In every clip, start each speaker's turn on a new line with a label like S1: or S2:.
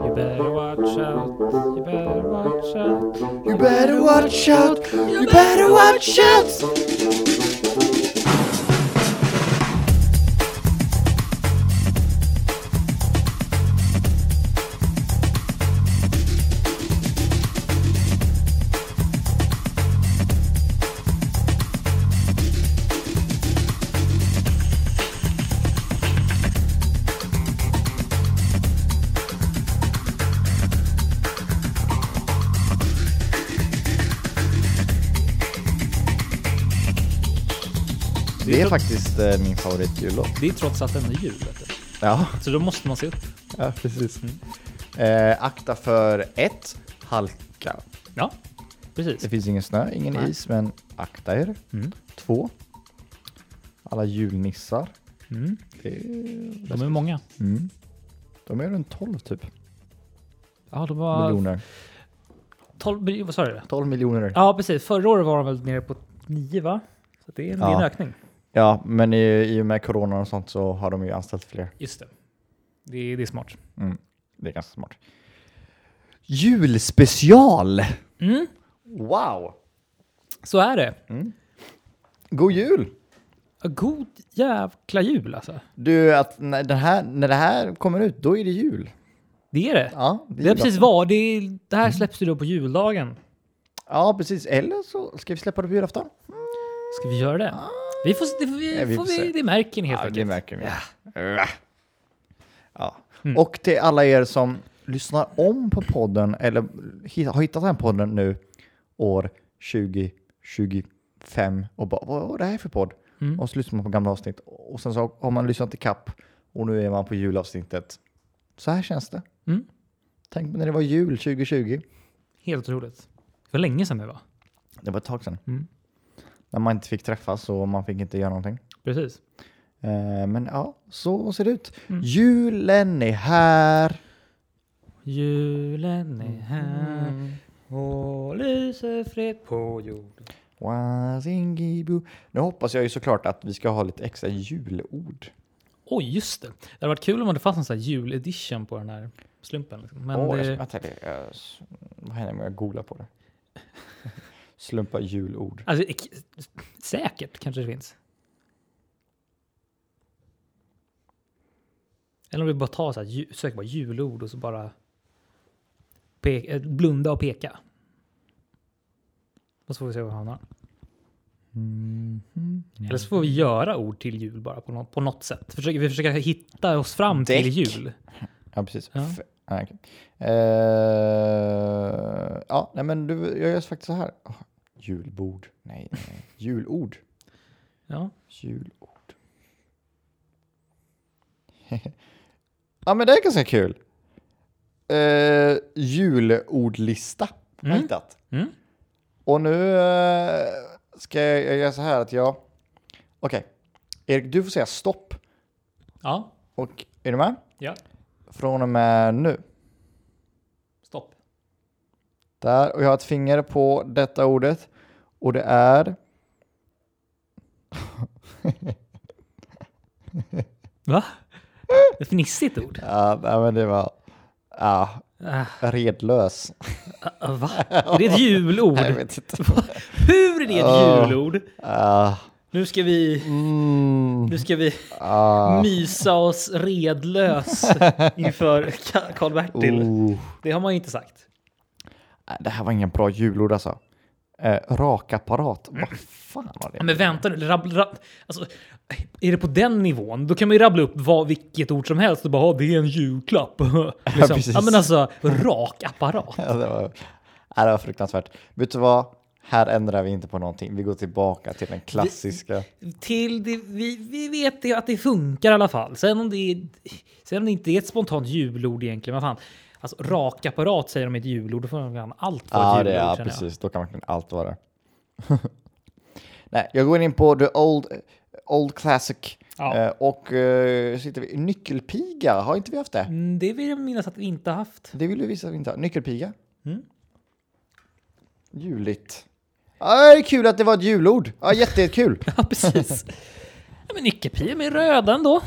S1: You better watch out. You better watch out.
S2: You better watch out, you better watch out! Det är faktiskt eh, min favoritjullåt.
S1: Det är trots allt en jul, vet du.
S2: Ja,
S1: Så då måste man se upp.
S2: ja precis. Eh, akta för ett, halka.
S1: Ja,
S2: Det
S1: precis.
S2: finns ingen snö, ingen
S1: Nej.
S2: is, men akta er.
S1: Mm.
S2: Två, alla julnissar.
S1: Mm.
S2: Det är...
S1: De är många.
S2: Mm. De är runt 12 typ,
S1: Ja, de var...
S2: miljoner.
S1: 12, vad sa du?
S2: 12 miljoner. Ja,
S1: Ja, precis. Förra året var de väl nere på 9, va? Så det är en, det är en
S2: Ja.
S1: ökning.
S2: men i, i och med corona och sånt så har de ju anställt fler.
S1: Just det. Det är, det är smart.
S2: Mm. Det är ganska smart. Julspecial!
S1: Mm,
S2: Wow!
S1: så är det.
S2: God jul!
S1: Ja, God jävla jul alltså.
S2: Du, att när, den här, när det här kommer ut, då är det jul.
S1: Det är Mm. det.
S2: Ja, det, är
S1: Det har precis
S2: julafton.
S1: var. Det, är, det här släpps ju då på juldagen.
S2: Ja, precis. Eller så ska vi släppa det på julafton.
S1: Ska vi göra det? Vi får, det, får Ah. vi,
S2: Ja, vi
S1: får
S2: får
S1: vi,
S2: se.
S1: det märker ni helt
S2: Ja, det
S1: enkelt.
S2: märker vi. Ja. Ja.
S1: Mm.
S2: Och till alla er som lyssnar om på podden eller hi- har hittat den här podden nu år 2025 och bara vad är det här för podd?
S1: Mm.
S2: Och så lyssnar man på gamla avsnitt och sen så har man lyssnat i kapp och nu är man på julavsnittet. Så här känns det.
S1: Mm.
S2: Tänk på när det var jul 2020.
S1: Helt otroligt. Det var länge sedan det var.
S2: Det var ett tag sedan.
S1: Mm.
S2: När man inte fick träffas och man fick inte göra någonting.
S1: Precis.
S2: Eh, Men ja, så ser det ut.
S1: Mm.
S2: Julen är här.
S1: Julen är här och lyser fred på jorden.
S2: Wazingibu. Nu hoppas jag ju såklart att vi ska ha lite extra julord.
S1: Oj, just det. Det hade varit kul om det fanns en sån här juledition på den här slumpen. Liksom. Men
S2: Åh, jag-
S1: det,
S2: vänta, det, jag, s- vad händer om jag googlar på det? Slumpa julord.
S1: alltså, ek- säkert kanske det finns. Eller om vi bara tar så här, ju- sök bara julord och så bara pe- eh, blunda och peka. Och så får vi se var vi hamnar. Eller så får vi göra ord till jul bara på något, på något sätt. Försöker, vi försöker hitta oss fram till
S2: Däck.
S1: jul.
S2: Ja, precis.
S1: Ja.
S2: F- ah, okej. Eh, ja, nej men du, jag gör faktiskt så här. Ah, julbord. Nej, nej, nej. julord.
S1: Ja.
S2: Julord. ja, men det är ganska kul. Eh, julordlista har jag
S1: Mm.
S2: hittat.
S1: Mm.
S2: Och nu eh, ska jag göra så här att jag... Okej, Erik, du får säga stopp.
S1: ja.
S2: Och är du med?
S1: Ja.
S2: Från och med nu.
S1: Stopp.
S2: Där, och jag har ett finger på detta ordet. Och det är...
S1: Va? Ett fnissigt ord.
S2: Ja, nej, men det var... Ja,
S1: Ah,
S2: redlös.
S1: ah, va? Är det ett julord?
S2: Nej, jag vet inte.
S1: Hur är det
S2: Ah.
S1: ett julord?
S2: Ah,
S1: Nu ska vi,
S2: mm,
S1: nu ska vi
S2: ah,
S1: mysa oss redlös inför Ka- Karl-Bertil.
S2: oh.
S1: Det har man ju inte sagt.
S2: Nej, Äh, Det här var ingen bra julord alltså. Eh, rakapparat. Vad fan var det?
S1: Mm. Men vänta nu, rabb, rabb, alltså, är det på den nivån, då kan man ju rabbla upp vad, vilket ord som helst och bara "Ah, det är en julklapp. liksom. ja,
S2: precis.
S1: men alltså, rak apparat.
S2: Ja, det, var, nej, det var fruktansvärt. Vet du vad? Här ändrar vi inte på någonting. Vi går tillbaka till den klassiska.
S1: Till det, vi, vi vet ju att det funkar i alla fall. Sen om det, är, sen om det inte är ett spontant julord egentligen, vad fan. Alltså rak apparat säger de är ett julord, då får man fan allt vara
S2: Ja,
S1: ett
S2: det
S1: julord
S2: är
S1: känner jag.
S2: precis. Då kan verkligen allt vara det. nej, jag går in på the old, old classic.
S1: Ja.
S2: Eh, och eh, sitter vi, nyckelpiga, har inte vi haft det?
S1: Mm, Det vill jag minnas att vi inte har haft.
S2: Det vill du visa att vi inte har. Nyckelpiga.
S1: Mm.
S2: Juligt. Ja, det är kul att det var ett julord. Ja, jätte- jättekul.
S1: Ja, precis. ja, men nyckelpia med röda ändå.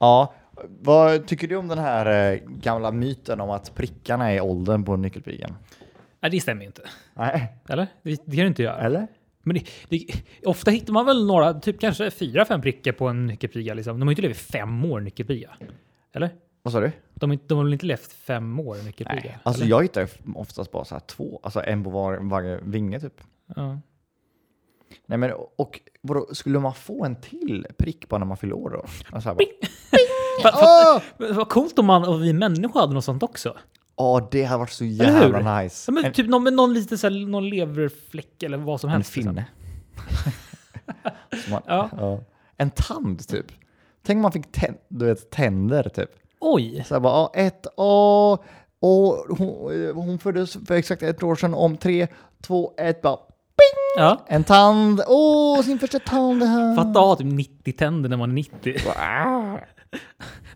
S2: Ja, Vad tycker du om den här eh, gamla myten om att prickarna är åldern på nyckelpigan?
S1: Nej, det stämmer ju inte.
S2: Nej,
S1: Eller? Det, det kan du inte göra.
S2: eller?
S1: Men det, det, ofta hittar man väl några, typ kanske fyra, fem prickar på en nyckelpiga. Liksom. De har ju inte levt i fem år, nyckelpiga. Eller?
S2: Vad sa du?
S1: De, har inte- de har väl inte levt fem år, nyckelpiga? Nej,
S2: Alltså jag hittar ju oftast bara så här två, alltså en på var, varje vinge typ.
S1: ja.
S2: Nej men och vadå, skulle man få en till prick bara när man fyller år då? Alltså här bara,
S1: Fa- fa-
S2: Åh!
S1: men Vad coolt om man och vi människor hade något sånt också.
S2: Ja, det hade varit så
S1: hur?
S2: jävla nice.
S1: Ja, men
S2: En,
S1: typ någon, med någon liten så här, någon leverfläck eller vad som
S2: en
S1: helst. liksom.
S2: finne. Som man,
S1: Ja.
S2: ja. En tand typ. Tänk om man fick tän- du vet, tänder typ.
S1: Oj!
S2: Så här bara, ja, ett, A och hon, eh, hon föddes för exakt ett år sedan om tre, två, ett, bara ping!
S1: Ja.
S2: En tand, åh, sin första tand. här.
S1: Fatta att ha typ 90 tänder när man är 90.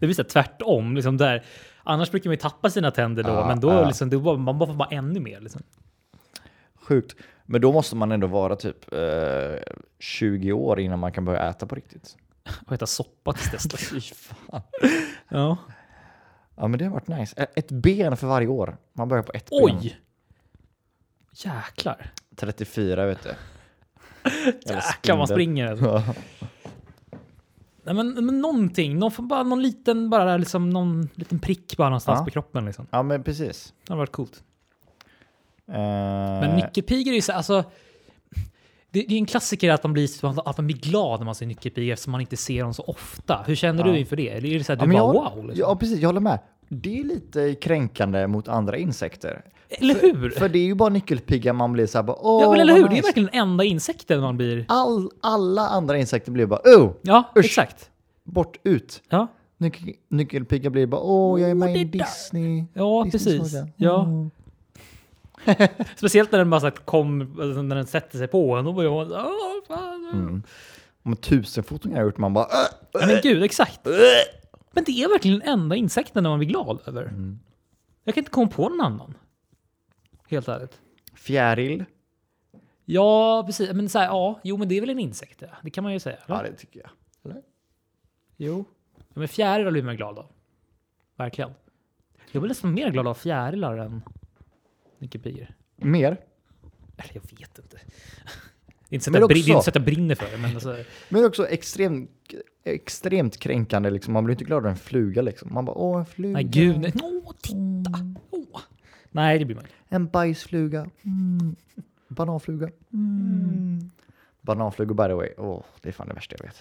S1: Det blir så här tvärtom. Liksom där. Annars brukar man ju tappa sina tänder då,
S2: Ja,
S1: men då
S2: ja.
S1: liksom, det var, man bara får bara ännu mer. Liksom.
S2: Sjukt. Men då måste man ändå vara typ eh, 20 år innan man kan börja äta på riktigt.
S1: Och äta soppa tills dess. liksom.
S2: Fy fan.
S1: ja.
S2: Ja men det har varit nice. Ä- Ett ben för varje år. Man börjar på ett ben.
S1: Oj! Jäklar.
S2: 34 vet du. Jävla
S1: Jäklar man
S2: spindel.
S1: springer. Alltså.
S2: Ja.
S1: Nej, men, men någonting. Någon, får bara, någon, liten, bara, liksom, någon liten prick bara någonstans
S2: Ja.
S1: på kroppen. Liksom.
S2: Ja men precis.
S1: Det hade varit coolt.
S2: Eh,
S1: Men nyckelpigor är ju så alltså, det, det är en klassiker att man, blir, att man blir glad när man ser nyckelpigor eftersom man inte ser dem så ofta. Hur känner du
S2: Ja.
S1: inför det? Eller är det så här,
S2: ja,
S1: du
S2: men
S1: bara
S2: jag,
S1: wow?
S2: Ja
S1: Liksom?
S2: precis, jag håller med. Det är lite kränkande mot andra insekter.
S1: eller hur?
S2: För det är ju bara nyckelpiggar man blir såhär bara åh
S1: ja, men eller
S2: vad
S1: hur? Det är
S2: nice."
S1: verkligen den enda insekten man blir...
S2: All, alla andra insekter blir bara oh,
S1: Ja,
S2: Usch.
S1: exakt.
S2: bort, ut.
S1: Ja,
S2: Nyc- nyckelpiggar blir bara åh jag är med
S1: Mm, det
S2: i
S1: där."
S2: Disney.
S1: ja
S2: Disney
S1: precis.
S2: Saga.
S1: Ja.
S2: Mm.
S1: Speciellt när den bara så här, kom, alltså, när den sätter sig på en. Då börjar man... Åh, fan.
S2: Mm. Om tusen fotingar jag har gjort man bara "Äh!" "Åh, åh,
S1: Ja, men gud, exakt. Men det är verkligen den enda insekten när man blir glad över.
S2: Mm.
S1: Jag kan inte komma på någon annan. Helt ärligt.
S2: fjäril.
S1: Ja, precis. Men så här, ja, jo, men det är väl en insekt? Ja. Det kan man ju säga. eller?
S2: Ja det tycker jag. Eller?
S1: Jo. Ja, men fjärilar blir man glad av. Verkligen. Jag blir nästan mer glad av fjärilar än nyckelpigor.
S2: Mer.
S1: Eller jag vet inte. Det är inte så att,
S2: Men
S1: jag, brin- det är
S2: också-
S1: inte så att jag brinner för det, men alltså,
S2: Men också extremt, extremt kränkande. Liksom. Man blir inte glad av en fluga. Liksom. Man bara, åh, en fluga.
S1: nej gud,
S2: Mm.
S1: nej. Åh, titta! Åh. Nej, det blir man inte.
S2: En bajsfluga. Mm. Bananfluga. Mm. Bananflugor, by the way. Åh, det är fan det värsta jag vet.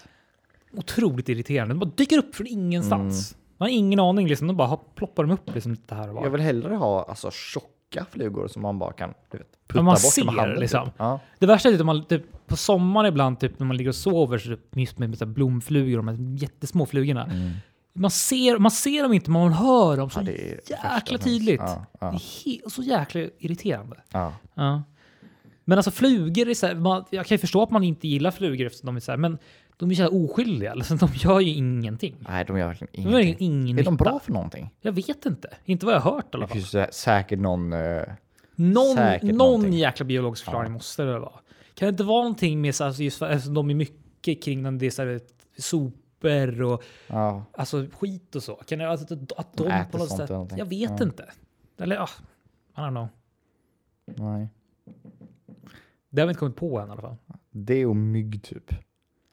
S1: Otroligt irriterande. De bara dyker upp från ingenstans. Man har ingen aning, liksom. de bara har- ploppar de upp liksom, lite här och
S2: Mm. Jag
S1: var.
S2: vill hellre ha alltså, tjocka flugor som man bara kan du vet, putta
S1: man
S2: bort
S1: ser,
S2: med handen. typ.
S1: liksom.
S2: Ja.
S1: Det värsta är typ om man typ, på sommaren ibland typ, när man ligger och sover så typ, just med, med så här blomflugor, de här jättesmå flugorna. Man, ser, man ser dem inte, men man hör dem så
S2: Mm. Ja, det är det värsta
S1: jäkla
S2: som
S1: tydligt.
S2: finns. Ja, ja.
S1: Det är he- så jäkla irriterande.
S2: Ja.
S1: Ja. Men alltså flugor är så här, man, jag kan ju förstå att man inte gillar flugor eftersom de är så här, men de är så här oskyldiga. Alltså, de gör ju ingenting.
S2: Nej, de gör verkligen
S1: De gör
S2: ingenting.
S1: ju ingen
S2: Är de
S1: nytta.
S2: bra för någonting?
S1: Jag vet inte. Inte vad jag har hört i alla
S2: Det
S1: fall.
S2: finns sä- säkert någon... eh,
S1: Någon,
S2: säkert
S1: någon
S2: någonting.
S1: jäkla biologisk förklaring måste det vara. Kan det inte vara någonting med så här, alltså just för, alltså, de är mycket kring den, det är så här, sopor och
S2: ja.
S1: alltså, skit och så. Kan det, alltså, att, att de,
S2: De äter
S1: på något
S2: sånt
S1: sätt...
S2: eller någonting.
S1: Jag vet
S2: Ja.
S1: inte. Eller ja, I don't know.
S2: Nej.
S1: Det har vi inte kommit på än i alla fall.
S2: Det och mygg typ.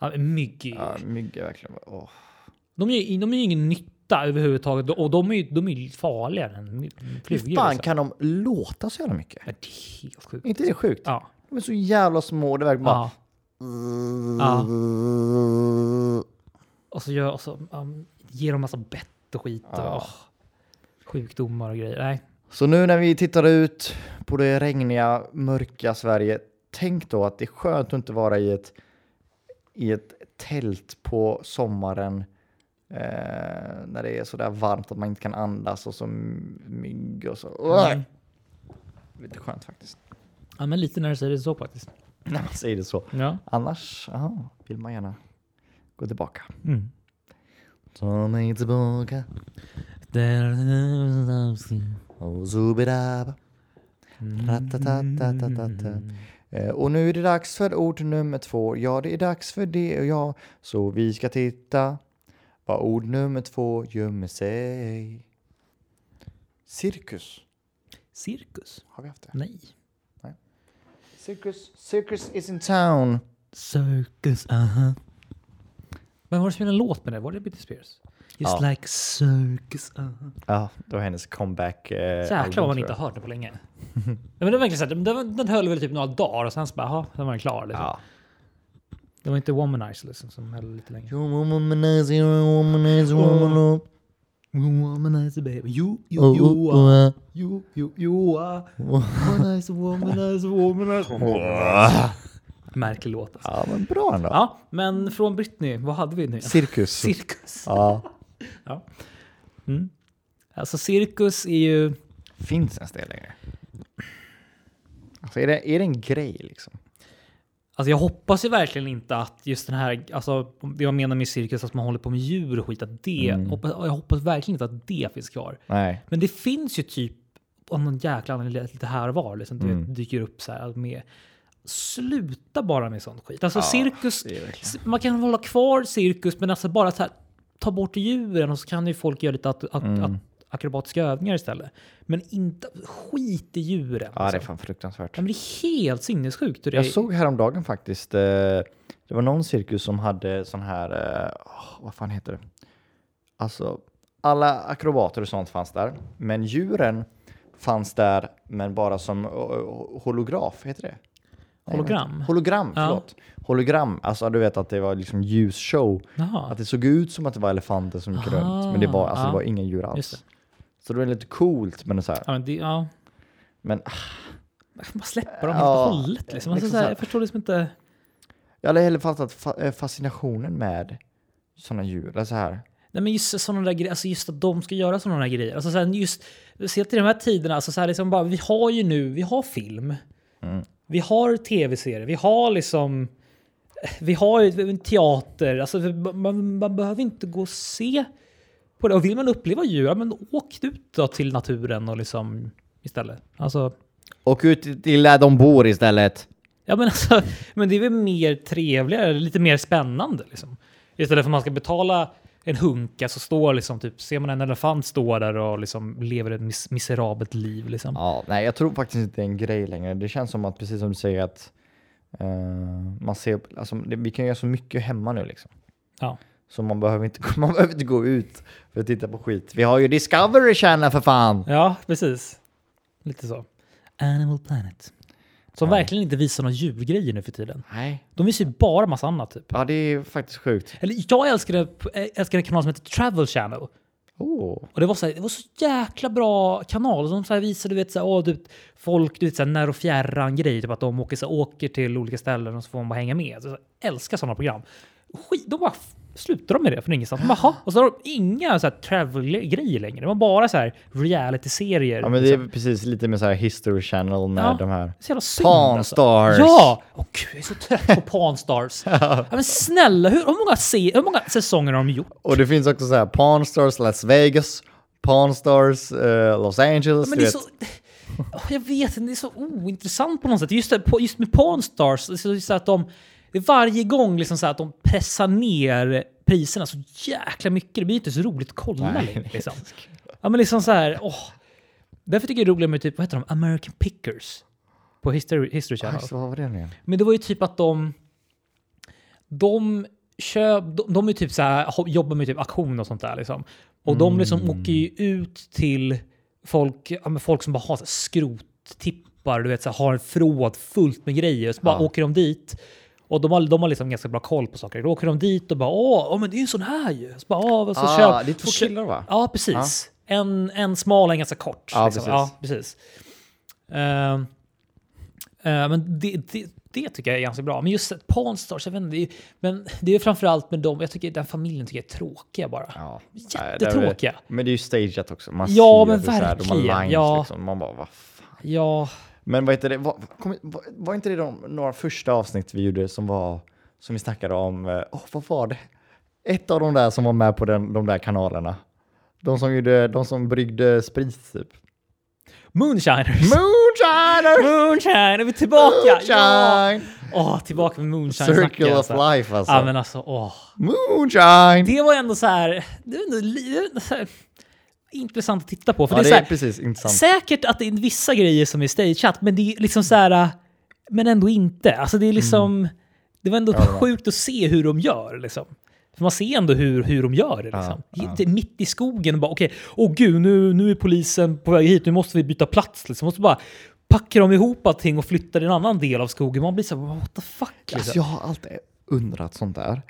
S1: Ja, Mygg.
S2: Ja, mygg är verkligen... Åh.
S1: De gör ju de gör ju ingen nytta överhuvudtaget och de är ju de är ju farligare än my- flugor.
S2: Hur fan
S1: liksom.
S2: kan Mm. de låta så jävla mycket?
S1: Men det är helt
S2: Är
S1: sjukt.
S2: inte det sjukt?
S1: Ja.
S2: De är så jävla små. Det verkar bara...
S1: ja. Ja. Och så, gör, och så um, ger de massa bett och skit. Och,
S2: Ja.
S1: åh, sjukdomar och grejer. Nej.
S2: Så nu när vi tittar ut på det regniga, mörka Sverige. Tänk då att det är skönt att inte vara i ett, i ett tält på sommaren. Eh, när det är så där varmt att man inte kan andas och så mygg och så. Åh!
S1: Mm.
S2: Lite skönt faktiskt.
S1: Ja, men lite när du säger det så faktiskt.
S2: När man säger det så.
S1: Ja.
S2: Annars aha, vill man gärna gå tillbaka.
S1: Mm.
S2: Ta mig tillbaka. Mm. Och så bedab. Ratatatatata. Eh, Och nu är det dags för ord nummer två. Ja, det är dags för det och jag. Så vi ska titta Var ord nummer två gömmer sig. Cirkus.
S1: Cirkus?
S2: Har vi haft det?
S1: Nej.
S2: Cirkus, circus is in town.
S1: Circus, aha. Men var det som gjorde en låt med det? Var det Britney Spears? Just
S2: Ja.
S1: like circus, aha.
S2: Ja, det var hennes comeback. Eh,
S1: Så jäklar
S2: album,
S1: vad man
S2: tror
S1: inte
S2: jag.
S1: har hört det på länge. Nej, men det var verkligen så här, den, den höll väl typ några dagar och sen så bara, aha, sen var den klar. Liksom.
S2: Ja.
S1: Det var inte Womanizer liksom, som höll lite längre.
S2: You're a womanizer, you're a womanizer, woman-
S1: Womanizer Oh. baby, you,
S2: oh, oh, oh, eh.
S1: you, you, you are womanizer, womanizer,
S2: oh.
S1: Märklig låt alltså.
S2: Ja, men bra ändå.
S1: Ja, men från Britney, vad hade vi nu? Alltså,
S2: Cirkus.
S1: Cirkus.
S2: Ja.
S1: Ja. Mm. Alltså cirkus är ju...
S2: Finns ens det längre? Alltså, är, det, är det en grej liksom?
S1: Alltså jag hoppas ju verkligen inte att just den här, alltså det jag menar med cirkus, att man håller på med djur och skit, att det,
S2: Mm.
S1: hoppas, jag hoppas verkligen inte att det finns kvar.
S2: Nej.
S1: Men det finns ju typ av någon jäkla anledning lite här och var, liksom, du
S2: Mm.
S1: vet, dyker upp så här med. Sluta bara med sånt skit. Alltså
S2: Ja,
S1: cirkus,
S2: det är verkligen-
S1: c- man kan hålla kvar cirkus, men alltså bara så här, ta bort djuren och så kan ju folk göra lite at, at,
S2: Mm.
S1: at, akrobatiska övningar istället. Men inte skit i djuren.
S2: Ja,
S1: alltså.
S2: det är fan fruktansvärt.
S1: Ja, men det är helt sinnessjukt. hur Det
S2: Jag såg häromdagen faktiskt, eh, det var någon cirkus som hade sån här, eh, åh, vad fan heter det? Alltså, alla akrobater och sånt fanns där, men djuren fanns där, men bara som eh, holograf, heter det? Nej,
S1: Hologram?
S2: vänta. Hologram,
S1: Ja.
S2: förlåt. Hologram, alltså du vet att det var liksom ljusshow.
S1: Jaha.
S2: Att det såg ut som att det var elefanter som gick
S1: Ah,
S2: runt, men det var, alltså, det
S1: ja.
S2: var inga djur
S1: Just
S2: alls.
S1: det.
S2: Så det var lite coolt, men så här.
S1: Ja, men det, ja.
S2: Men ah,
S1: Man kan bara släppa dem
S2: Ja,
S1: helt och hållet. Liksom. Alltså,
S2: liksom
S1: så här,
S2: så här-
S1: jag förstår liksom inte.
S2: Jag hade hellre fattat fa- eh, fascinationen med sådana djur. Eller så här.
S1: Nej, men just sådana där grejer, alltså just att de ska göra sådana där grejer. Alltså sen just, se till de här tiderna, alltså så här liksom bara, vi har ju nu, vi har film. Vi har tv-serier, vi har liksom, vi har ju en teater. Alltså man, man behöver inte gå och se på det. Och vill man uppleva djur, ja, men åk ut då till naturen och liksom istället. Alltså,
S2: Och ut till där de bor istället.
S1: Ja men alltså, men det är väl mer trevligare, lite mer spännande liksom. Istället för att man ska betala en hunka så står liksom typ, ser man en elefant stå där och liksom lever ett mis miserabelt liv liksom.
S2: Ja, nej, jag tror faktiskt inte det är en grej längre. Det känns som att, precis som du säger, att eh, man ser, alltså, det, vi kan göra så mycket hemma nu liksom.
S1: Ja.
S2: Så man behöver, inte, man behöver inte gå ut för att titta på skit. Vi har ju Discovery Channel för fan!
S1: Ja, precis. Lite så. Animal Planet. Som
S2: Ja.
S1: verkligen inte visar några djurgrejer nu för tiden.
S2: Nej.
S1: De visar ju bara massa annat typ.
S2: Ja, det är faktiskt sjukt.
S1: Eller jag älskade, älskade en kanal som heter Travel Channel.
S2: Oh.
S1: Och det var så, här, det var så jäkla bra kanal. De så här visade du vet, så här, åh, du vet, folk, du vet, så här, när och fjärran grejer. Typ att de åker, så här, åker till olika ställen och så får man bara hänga med. Så, så, här, älskar sådana program. Skit, de bara f- slutar de med det från ingenstans. De bara, "Jaha." och så har de inga så här, travel-grejer längre. Det var bara så här reality-serier.
S2: Ja, men det är precis lite med så här History Channel med
S1: typ. Ja.
S2: de här.
S1: Så jävla synd
S2: Pawnstars.
S1: Alltså. Ja! Åh gud, jag är så trött på Pawnstars. ja, men snälla, hur, hur, många se, hur många säsonger har de gjort?
S2: Och det finns också så här Pawn Stars Las Vegas, Pawn Stars eh, Los Angeles.
S1: Men
S2: du
S1: det är
S2: vet.
S1: så... Åh, Jag vet inte, det är så ointressant på något sätt. Just, det, på- just med Pawn Stars, så är det så att de... Det är varje gång liksom så att de pressar ner priserna så jäkla mycket. Det blir inte så roligt att kolla
S2: Nej,
S1: längre. Liksom. Ja, men liksom så här, åh. Därför tycker jag det är roligare med typ, vad heter de? American Pickers. På History, History Channel.
S2: Just, vad var det nu igen?
S1: Men det var ju typ att de... De, köp, de, de är typ så här, ho- jobbar med typ auktion och sånt där. Liksom. Och de liksom
S2: Mm.
S1: åker ju ut till folk, ja, men folk som bara har så här skrottippar, du vet, så här, har en förråd fullt med grejer. Så bara
S2: Ja.
S1: åker de dit. Och de har, de har liksom ganska bra koll på saker. Då åker de dit och bara åh, ja, men det är ju en sån här ju. Så bara, åh, och så
S2: Ah,
S1: köp-
S2: det är två
S1: kö-
S2: killar, va?
S1: Ja, precis. En, en smal och en ganska kort.
S2: Ja,
S1: liksom.
S2: precis.
S1: Ja, precis. Ehm, Eh, men det, det, det tycker jag är ganska bra. Men just Pawn Stars, jag vet inte, det är, men det är framförallt med dem, jag tycker den familjen tycker jag är tråkiga bara.
S2: Ja.
S1: Jättetråkiga.
S2: Men det är ju stageat också. Man
S1: Ja,
S2: ser
S1: men
S2: det så här, De
S1: verkligen,
S2: har lines
S1: ja.
S2: liksom. Man bara, vad fan.
S1: Ja,
S2: Men vad heter det? Var, kom, var, var inte det de, några första avsnitt vi gjorde som var, som vi snackade om, eh, åh vad var det? Ett av de där som var med på den, de där kanalerna. De som gjorde, de som bryggde sprit typ.
S1: Moonshiners!
S2: Moonshiner!
S1: Moonshine! Är vi tillbaka? Ja!
S2: Moonshine!
S1: Åh, tillbaka med moonshine
S2: Circle of life alltså.
S1: Ja, men alltså, åh.
S2: Moonshine!
S1: Det var ändå så här, det var ändå li- det var ändå så här intressant att titta på. För det är
S2: Ja, det
S1: så
S2: är
S1: här,
S2: precis intressant.
S1: Säkert att det är vissa grejer som är stageat, men det är liksom så här, men ändå inte. Alltså det är liksom, det var ändå
S2: Mm. Ja, det var.
S1: sjukt att se hur de gör liksom. För man ser ändå hur, hur de gör det. Liksom.
S2: ja.
S1: Inte Mitt i skogen och bara okej, åh gud, nu, nu är polisen på väg hit, nu måste vi byta plats. Liksom. Måste bara packa dem ihop allting och flytta till en annan del av skogen. Man blir så här, what the fuck? Liksom.
S2: Alltså, jag har alltid undrat sånt där.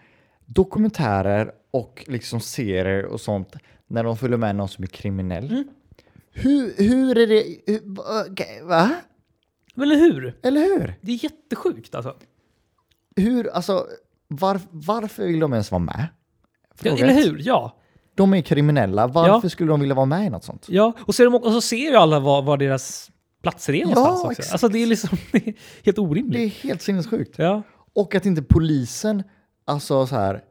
S2: Dokumentärer och liksom serier och sånt när de följer med någon som är kriminell.
S1: Mm.
S2: Hur, hur är det? hur- va- okej, Va?
S1: Men Eller hur?
S2: Eller hur?
S1: Det är jättesjukt alltså.
S2: Hur, alltså, var, varför vill de ens vara med?
S1: Ja,
S2: Fråga
S1: eller
S2: ett.
S1: hur? Ja.
S2: De är kriminella, varför skulle de vilja vara med i något sånt?
S1: Ja, och, så är de, och så ser ju alla var, var deras platser är någonstans också.
S2: exakt.
S1: Alltså det är liksom det är helt
S2: Det
S1: orimligt.
S2: är helt sinnessjukt.
S1: Ja.
S2: Och att inte polisen, alltså så här,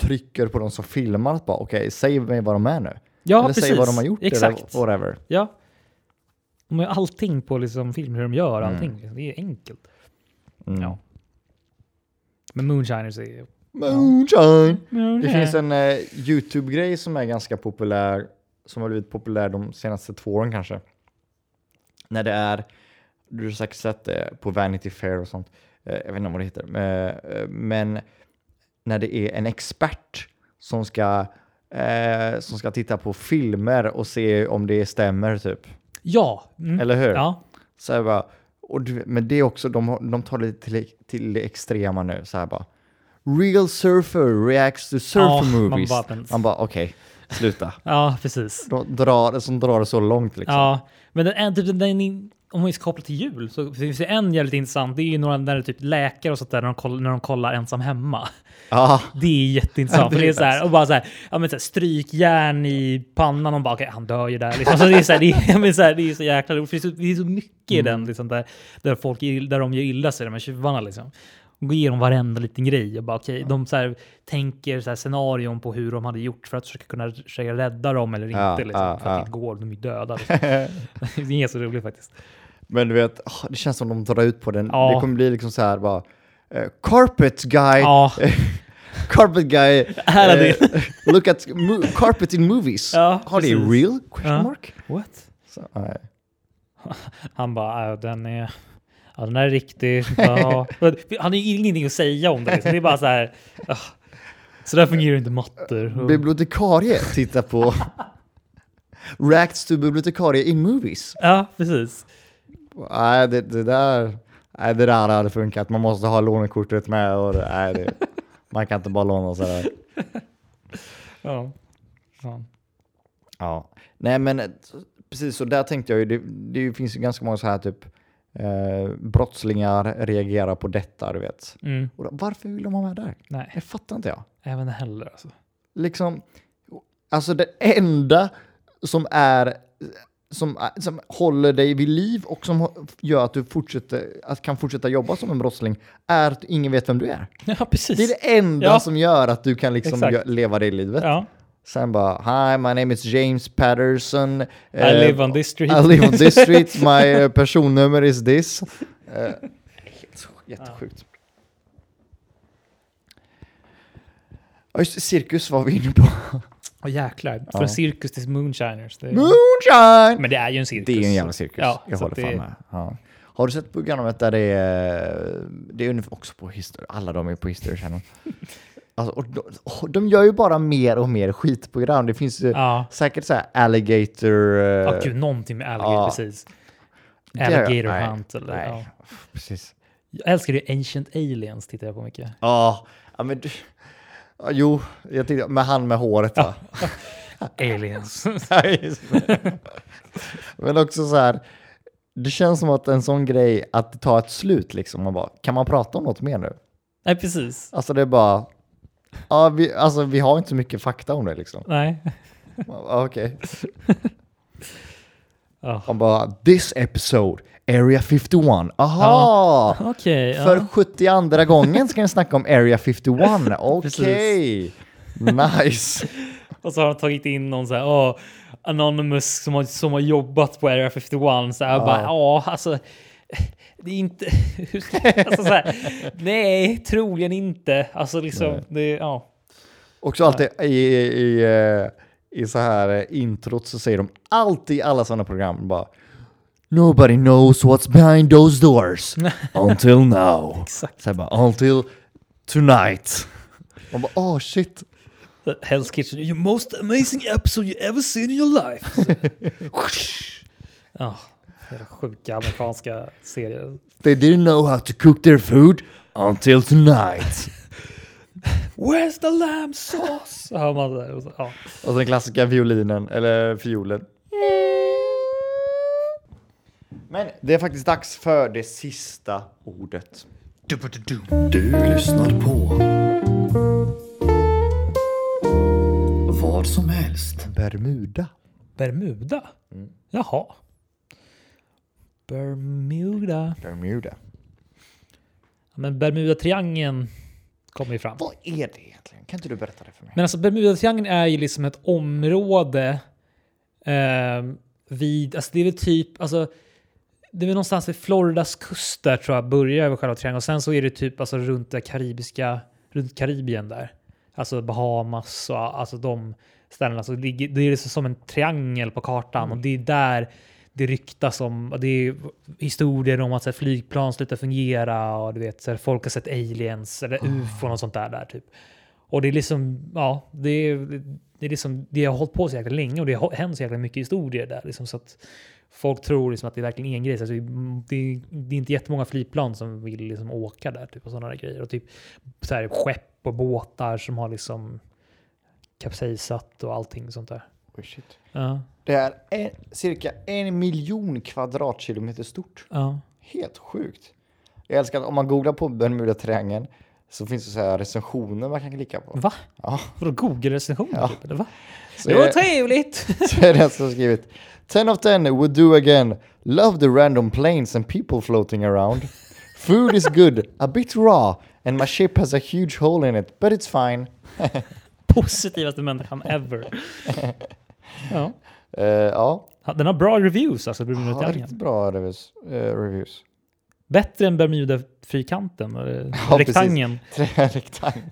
S2: trycker på de som filmar att bara okej, säg mig vad de är nu.
S1: ja,
S2: eller
S1: precis.
S2: säg vad de har gjort
S1: Exakt.
S2: eller whatever.
S1: Ja. De har ju allting på liksom film, hur de gör allting. liksom. Det är enkelt.
S2: Mm.
S1: Ja. Men Moonshiners är...
S2: Moonshine! Det finns en eh, YouTube-grej som är ganska populär, som har blivit populär de senaste två åren kanske. När det är, du har säkert sett det på Vanity Fair och sånt, eh, jag vet inte vad det heter, eh, eh, men när det är en expert som ska, eh, som ska titta på filmer och se om det stämmer typ.
S1: Ja. Mm.
S2: Eller hur?
S1: ja.
S2: Så här bara, och du, men det är också, de, har- de tar det till, till det extrema nu. Så här bara, real surfer reacts to surfer
S1: Ja, man
S2: movies.
S1: bara, men-
S2: Man bara, okej, sluta.
S1: Ja, precis.
S2: De drar, som drar det så långt liksom.
S1: Ja. Men den, en- typ den, den, om vi ska koppla till jul så finns det en jävligt intressant. Det är ju några när det är typ läkare och sånt där när de, koll, när de kollar ensam hemma.
S2: Ja,
S1: Det är jätteintressant.
S2: det
S1: för det är
S2: är
S1: så här, och bara så här, ja, men så här, strykjärn i pannan och bara okej, han dör ju där. Liksom. Så det, är så här, det, är, ja, men så här, det är så jäkla roligt. för Det är så, det är så mycket
S2: Mm.
S1: i den liksom, där, där, folk, är ill- där de gör illa sig, de här tjuvarna. Liksom. De går igenom varenda liten grej och bara okej, de så här, tänker så här, scenarion på hur de hade gjort för att försöka kunna försöka rädda dem eller inte.
S2: Ja,
S1: liksom,
S2: ja,
S1: för att
S2: ja.
S1: det går, de är ju döda. Liksom. det är så roligt faktiskt.
S2: men du vet, ah, det känns som de drar ut på den.
S1: Ja.
S2: Det kommer bli liksom så här bara, eh, carpet guy,
S1: Ja,
S2: carpet guy, eh,
S1: Här är
S2: look at mo- carpet in movies.
S1: Ja,
S2: Are they
S1: precis.
S2: real? Question
S1: Ja.
S2: mark?
S1: what?
S2: Så, nej.
S1: Han bara, "Ja, den är... Ja, den är riktig. Ja. Han har ju ingenting att säga om det. Liksom. Det är bara så här... "Ah, Så där fungerar ju inte
S2: Äh,
S1: mattor. Och-
S2: Bibliotekarie tittar på Reacts to bibliotekarie in movies.
S1: Ja, precis.
S2: Nej, det, det där... Nej, det där hade funkat. Man måste ha lånekortet med. Och, det- nej, det, man kan inte bara låna sådär.
S1: Ja. Fan.
S2: Ja. Nej, men eh, precis så där tänkte jag ju. Det, det finns ju ganska många så här typ eh, brottslingar reagerar på detta, du vet.
S1: Mm.
S2: Och då, varför vill de ha med där?
S1: Nej,
S2: Det fattar inte jag.
S1: även det heller alltså.
S2: liksom, alltså det enda som är som, som håller dig vid liv och som hå- gör att du fortsätter, att kan fortsätta jobba som en brottsling är att ingen vet vem du är.
S1: Ja, precis.
S2: Det är det enda
S1: Ja.
S2: som gör att du kan liksom
S1: Exakt.
S2: gö- leva det livet.
S1: Ja.
S2: Sen bara, hi my name is James Patterson. eh,
S1: I live on this street.
S2: I live on this street, my eh, personnummer is this. Eh, helt- Jättesjukt. Ja, just det, cirkus var vi inne på.
S1: Åh, jäklar.
S2: Ja.
S1: Från cirkus till moonshiners. Det är...
S2: Moonshine!
S1: Men det är ju en cirkus.
S2: Det är ju en jävla cirkus.
S1: Ja,
S2: jag
S1: så
S2: håller
S1: att
S2: fan
S1: det-
S2: med. Ja. Har du sett programmet där det är... Det är ungefär också på History. Alla de är på History Channel. Alltså, och de, och de gör ju bara mer och mer skitprogram. Det finns ju
S1: Ja.
S2: säkert så här alligator...
S1: Ja,
S2: eh,
S1: gud, någonting med alligator,
S2: Ja.
S1: precis.
S2: det-
S1: Alligator
S2: nej,
S1: hunt eller...
S2: Nej,
S1: Ja.
S2: precis.
S1: Jag älskar ju Ancient Aliens, tittar jag på mycket.
S2: Ja, ja men... du- Ja, jo, jag tänkte, men han med håret va?
S1: Aliens.
S2: Nej, just det. Men också så här, det känns som att en sån grej, att det tar ett slut liksom. Man bara, kan man prata om något mer nu?
S1: Nej, precis.
S2: Alltså det är bara, ja, vi, alltså, vi har inte så mycket fakta om det liksom.
S1: Nej.
S2: Man bara, Okej.
S1: Ja.
S2: Man bara, this episode, Area 51, aha!
S1: Ja. Okej. ja.
S2: För 72 gången ska ni snacka om Area 51, okej! Nice!
S1: Och så har de tagit in någon så här, åh, Anonymous som har, som har jobbat på Area 51. Så här,
S2: Ja.
S1: bara, ja, alltså. Det är inte... hur ska- alltså, så här, nej, troligen inte. Alltså liksom,
S2: Nej.
S1: det, ja.
S2: Också alltid i, i, i, eh, i så här eh, introt så säger de alltid i alla sådana program bara Nobody knows what's behind those doors until now.
S1: Exakt.
S2: Så här bara until tonight. Man bara åh shit.
S1: Hell's Kitchen, your most amazing episode you ever seen in your life. Ja, jävla sjuka amerikanska serier.
S2: They didn't know how to cook their food until tonight.
S1: Where's the lamb sauce? Så hör man det där. och så- Ja.
S2: Och den klassiska violinen, eller fiolen. Men det är faktiskt dags för det sista ordet.
S3: Du lyssnar på vad som helst.
S2: Bermuda.
S1: Bermuda? Jaha. Bermuda.
S2: Bermuda.
S1: Ja, Men Bermuda-triangeln kommer ju fram.
S2: Vad är det egentligen? Kan inte du berätta det för mig?
S1: Men alltså Bermudatriangeln är ju liksom ett område eh, vid, alltså det är väl typ, alltså det är väl någonstans vid Floridas kust där tror jag börjar över själva triangeln och sen så är det typ alltså runt det karibiska, runt Karibien där. Alltså Bahamas och alltså de ställena. Så det, ligger- det är liksom som en triangel på kartan och det är där det ryktas om, och det är historier om att så här, flygplan slutar fungera och du vet, så här, folk har sett aliens eller ufon och sånt där, där typ. Och det är liksom, ja, det är, det är liksom, det har hållit på så jäkla länge och det har hänt så jäkla mycket historier där. Liksom, så att folk tror liksom att det är verkligen en grej. Så Alltså, det, är, det är inte jättemånga flygplan som vill liksom åka där typ, och sådana där grejer. Och typ så här, skepp och båtar som har liksom kapsejsat och allting sånt där.
S2: Oj, Oh, shit.
S1: Ja,
S2: Det är en, cirka en miljon kvadratkilometer stort.
S1: ja.
S2: Helt sjukt. Jag älskar att om man googlar på Bermuda-triangeln så finns det så här recensioner man kan klicka på.
S1: Va?
S2: Ja.
S1: Vadå Google-recensioner? Typ, eller va?
S2: Så
S1: Det var
S2: är-
S1: trevligt!
S2: Så är det en som har skrivit 10 of 10 would do again. Love the random planes and people floating around. Food is good, a bit raw and my ship has a huge hole in it but it's fine.
S1: Positivaste människan ever. Ja.
S2: Eh, ja,
S1: Den har bra reviews alltså,
S2: ja,
S1: Bermuda-triangeln.
S2: riktigt bra reviews. eh, reviews.
S1: Bättre än Bermuda-fyrkanten, eller
S2: Ja,
S1: rektangeln.
S2: Tre rektang.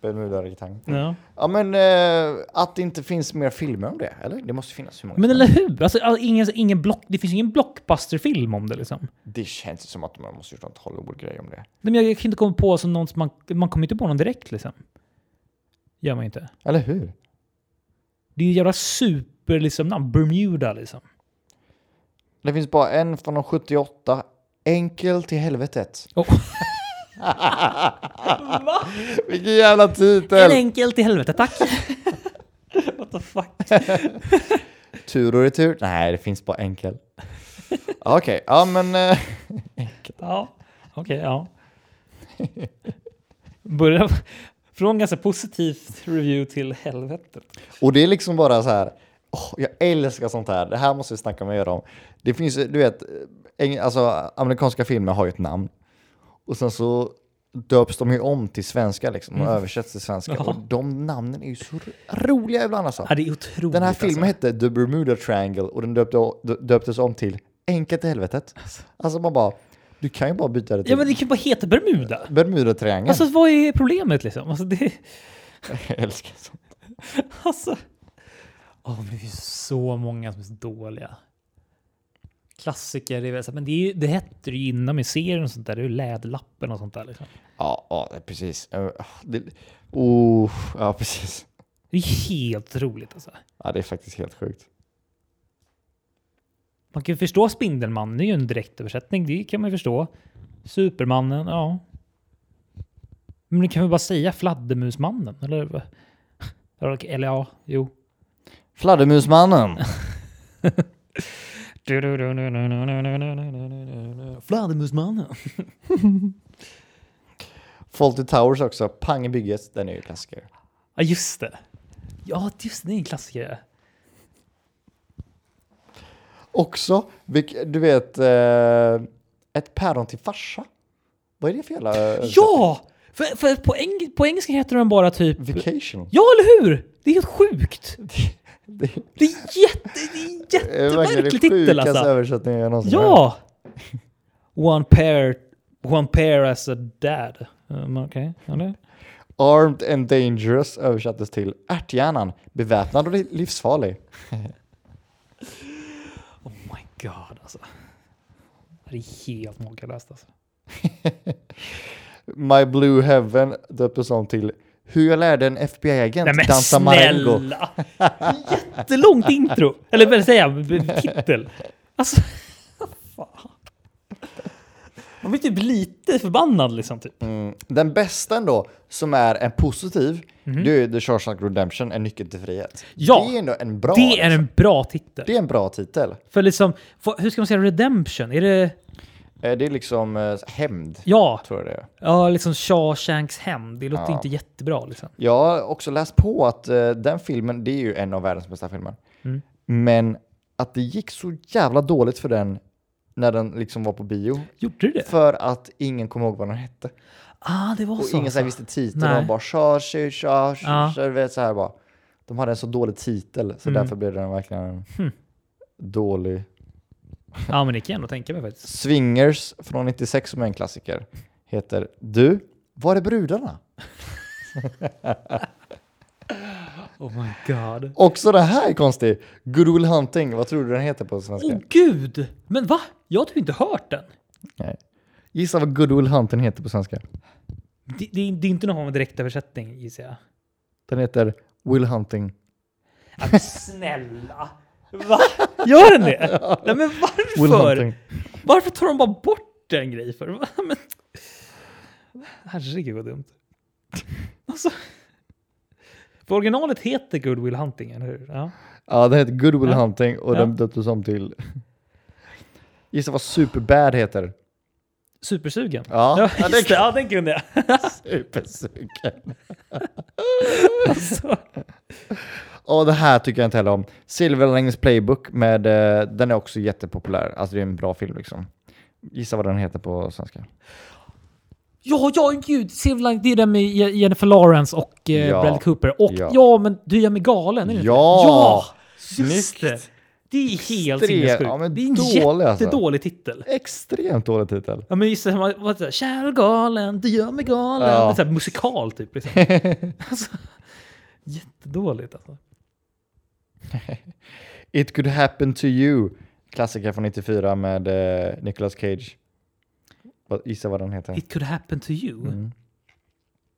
S2: Bermuda-rektang.
S1: Ja.
S2: Ja men eh, att det inte finns mer filmer om det, eller? Det måste finnas hur många
S1: Men
S2: som
S1: eller hur? Alltså, all- ingen, ingen block, det finns ingen blockbusterfilm om det. Liksom.
S2: Det känns ju som att man måste gjort något Hollywood-grej om det.
S1: Nej, men Jag kan inte komma på som någon som man, man kommer inte på någon direkt. Liksom. Gör man inte.
S2: Eller hur?
S1: Det är ju jävla super liksom, namn. Bermuda liksom.
S2: Det finns bara en från de 78. Enkel till helvetet.
S1: Oh.
S2: Vilken jävla
S1: En
S2: titel!
S1: enkel till helvete, tack! What the fuck?
S2: Tur och retur. Nej, det finns bara enkel. Okej, ja men... eh,
S1: Ja, okej, ja. Börja från ganska positivt review till helvetet.
S2: Och det är liksom bara så här. åh, jag älskar sånt här. Det här måste vi snacka med er om. Det finns ju, du vet, eng- alltså amerikanska filmer har ju ett namn. Och sen så döps de ju om till svenska liksom. De översätts till svenska.
S1: Mm. Ja.
S2: Och de namnen är ju så roliga ibland alltså.
S1: Ja, det är otroligt.
S2: Den här
S1: alltså.
S2: filmen hette The Bermuda Triangle och den döpte, döptes om till Enkelt i helvetet. Alltså man bara, du kan ju bara byta det till
S1: Ja, men det kan ju bara heta Bermuda.
S2: Bermuda Triangeln.
S1: Alltså vad är problemet liksom? Alltså det...
S2: jag älskar sånt.
S1: Alltså... Åh, men det finns så många som är så dåliga. Klassiker, det är väl så här, men det, är ju, det hette det ju innan med serien och sånt där. Det är ju Läderlappen och sånt där. Liksom. Ja.
S2: Ja, det är precis. Eh, Det, oh, ja, precis.
S1: Det är helt roligt alltså.
S2: Ja, det är faktiskt helt sjukt.
S1: Man kan ju förstå Spindelmannen, det är ju en direktöversättning. Det kan man ju förstå. Supermannen, ja. Men du kan väl bara säga Fladdermusmannen? Eller, vad? eller ja, jo.
S2: Fladdermusmannen.
S1: Fladdermusmannen.
S2: Fawlty Towers också. Pang i bygget. Den är ju klassiker.
S1: Ja, just det. Ja, just det. Det är en klassiker.
S2: Också, vilk- du vet, eh, ett päron till farsa. Vad är det för jävla... eh,
S1: Ja! För, för på, eng på engelska heter den bara typ...
S2: Vacation.
S1: Ja, eller hur? Det är helt sjukt.
S2: Det
S1: Det är jätte, det är
S2: är verkligen den
S1: jättemärklig titel
S2: sjukaste
S1: alltså.
S2: översättningen jag någonsin hört.
S1: Ja! One pair, one pair as a dad. Um, Okej, ja, det-
S2: Armed and dangerous översattes till ärthjärnan, beväpnad och li- livsfarlig.
S1: Oh my god alltså. Det är helt makalöst alltså.
S2: My Blue Heaven döptes om till Hur jag lärde en FBI-agent
S1: Nej men
S2: dansa marengo.
S1: snälla! Jättelångt intro. Eller vad säger jag? B- Titel. Alltså, fan. Man blir typ lite förbannad liksom. Typ.
S2: Mm. Den bästa ändå, som är en positiv, det är ju The Shawshank Redemption, En nyckel till frihet.
S1: Mhm. Ja,
S2: det är ändå en bra,
S1: Det är
S2: liksom.
S1: en bra titel.
S2: det är en bra titel.
S1: För liksom, vad- hur ska man säga redemption? Är det,
S2: Eh, Det är liksom eh, hämnd,
S1: ja,
S2: tror jag det är.
S1: ja liksom Shawshanks hem. Det låter
S2: Ja.
S1: inte jättebra liksom.
S2: Jag har också läst på att eh, den filmen, det är ju en av världens bästa filmer.
S1: Mm.
S2: Men att det gick så jävla dåligt för den när den liksom var på bio.
S1: Gjorde du det?
S2: För att ingen kom ihåg vad den hette.
S1: Ah, det var
S2: Och
S1: så.
S2: ingen så här
S1: alltså.
S2: visste titeln.
S1: Nej.
S2: Och de bara tja, tja, tja, tja,
S1: Ja. Mm.
S2: tja, du vet så här bara. De hade en så dålig titel så därför blev den verkligen en
S1: Hm.
S2: dålig.
S1: Ja, men det kan jag ändå tänka mig faktiskt.
S2: Swingers från 96 som är en klassiker heter Du, var är brudarna?
S1: Oh my god.
S2: Också den här är konstig. Good Will Hunting, vad tror du den heter på svenska?
S1: Åh oh, gud! Men va? Jag har typ inte hört den.
S2: Nej. Gissa vad Good Will Hunting heter på svenska.
S1: Det, det, det är inte någon direktöversättning gissar jag.
S2: Den heter Will Hunting.
S1: Ja, men snälla! Va? Gör den det? Nej men
S2: Will
S1: varför?
S2: Hunting.
S1: Varför tar de bara bort den grejen för? Va? Men... Herregud vad dumt. Alltså... För originalet heter Good Will Hunting, eller hur? Ja.
S2: Ja, den heter Good Will
S1: Ja.
S2: Hunting och
S1: Ja.
S2: den döptes om till... Gissa vad Superbad heter.
S1: Supersugen?
S2: Ja. Ja,
S1: ja,
S2: det-
S1: just det, ja den kunde jag.
S2: Supersugen.
S1: Alltså.
S2: Och det här tycker jag inte heller om. Silver Linings Playbook med... eh, Den är också jättepopulär. Alltså det är en bra film liksom. Gissa vad den heter på svenska.
S1: Ja, ja, gud! Civilized, det är den med Je- Jennifer Lawrence och eh,
S2: Ja.
S1: Bradley Cooper. Och
S2: Ja.
S1: ja. men du gör mig galen, är det inte?
S2: Ja!
S1: ja! Just
S2: Snyggt.
S1: det! Det är helt
S2: Extrem-
S1: sinnessjukt.
S2: ja, men
S1: det är en
S2: dålig alltså.
S1: jättedålig titel.
S2: Extremt dålig titel.
S1: Ja, men just det, man- vad heter det? Kär och galen, du gör mig galen.
S2: Ja.
S1: Det är så här musikal typ. Liksom. alltså, jättedåligt alltså.
S2: It could happen to you. Klassiker från 94 med eh, Nicolas Cage. Vad- Gissa vad den heter.
S1: It could happen to you.
S2: Mm.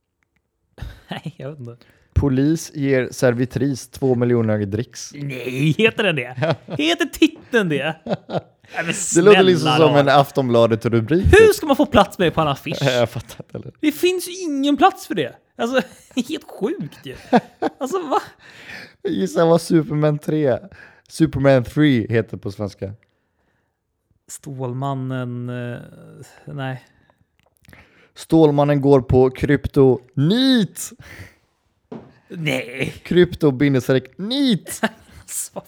S1: Nej, jag vet inte.
S2: Polis ger servitris två miljoner dricks.
S1: Nej, heter den det? Heter titeln det? Nej, men
S2: Det
S1: snälla
S2: låter liksom som
S1: rara.
S2: en Aftonbladet-rubrik.
S1: Hur ska man få plats med det på en affisch?
S2: Jag fattar inte heller.
S1: Det finns ju ingen plats för det. Alltså, helt sjukt ju. Alltså, va?
S2: Gissa vad Superman 3, Superman 3 heter på svenska.
S1: Stålmannen... eh, nej.
S2: Stålmannen går på krypto NIT!
S1: Nej!
S2: Krypto bindestreck NIT!
S1: Alltså.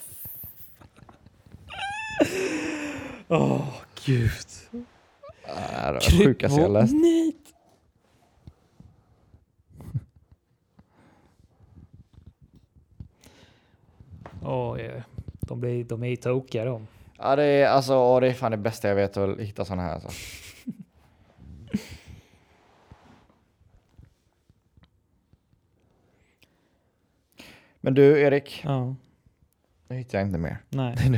S1: Åh, gud.
S2: Ah, Det var det sjukaste jag läst.
S1: Nej. Åh, ja. de, blir, de är ju tokiga de.
S2: Ja, det är, alltså, ja, det är fan det bästa jag vet att hitta sådana här. Alltså. Men du, Erik.
S1: Ja,
S2: Nu hittar jag inte mer.
S1: nej.
S2: Det var,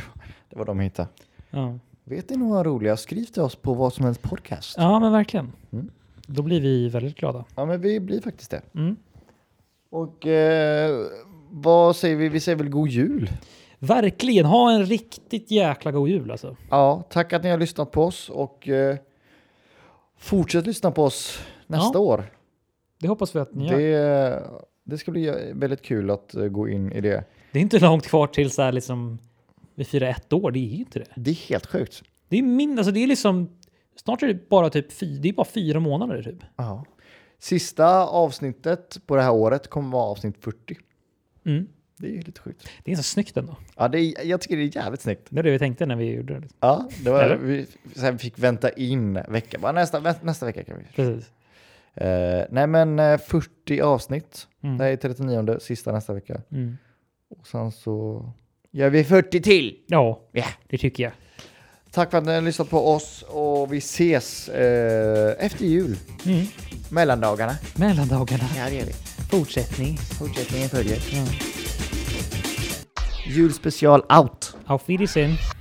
S2: det var de jag hittade.
S1: Ja.
S2: Vet ni några roliga? Skriv till oss på vad som helst podcast.
S1: ja, men verkligen.
S2: Mm.
S1: Då blir vi väldigt glada.
S2: Ja, men vi blir faktiskt det.
S1: Mm.
S2: Och eh, vad säger vi? Vi säger väl god jul?
S1: Verkligen, ha en riktigt jäkla god jul alltså.
S2: Ja, tack att ni har lyssnat på oss och eh, fortsätt lyssna på oss nästa
S1: Ja.
S2: år.
S1: Det hoppas vi att ni gör.
S2: Det, eh, det ska bli väldigt kul att eh, gå in i det.
S1: Det är inte långt kvar till så här liksom vi firar ett år, det är ju inte det.
S2: Det är helt sjukt.
S1: Det är min, alltså det är liksom, snart är det bara typ fy, det är bara fyra månader typ.
S2: Ja. Sista avsnittet på det här året kommer vara avsnitt 40.
S1: Mm.
S2: Det är ju lite sjukt.
S1: Det är så snyggt ändå.
S2: Ja, det är, jag tycker det är jävligt snyggt.
S1: Det var det vi tänkte när vi gjorde det.
S2: Ja, det var,
S1: Eller?
S2: vi, sen fick vänta in vecka. Bara nästa, vä- nästa vecka kan vi.
S1: Precis.
S2: Eh, nej, men eh, 40 avsnitt.
S1: Mm.
S2: Det här är 39 sista nästa vecka.
S1: Mm.
S2: Och sen så gör vi 40 till.
S1: Ja,
S2: Ja.
S1: det tycker jag.
S2: Tack för att ni har lyssnat på oss och vi ses eh, efter jul.
S1: Mm.
S2: Mellandagarna.
S1: Mellandagarna.
S2: Ja, det gör vi.
S1: Fortsättning.
S2: Fortsättningen följer. Julspecial out.
S1: Auf Wiedersehen.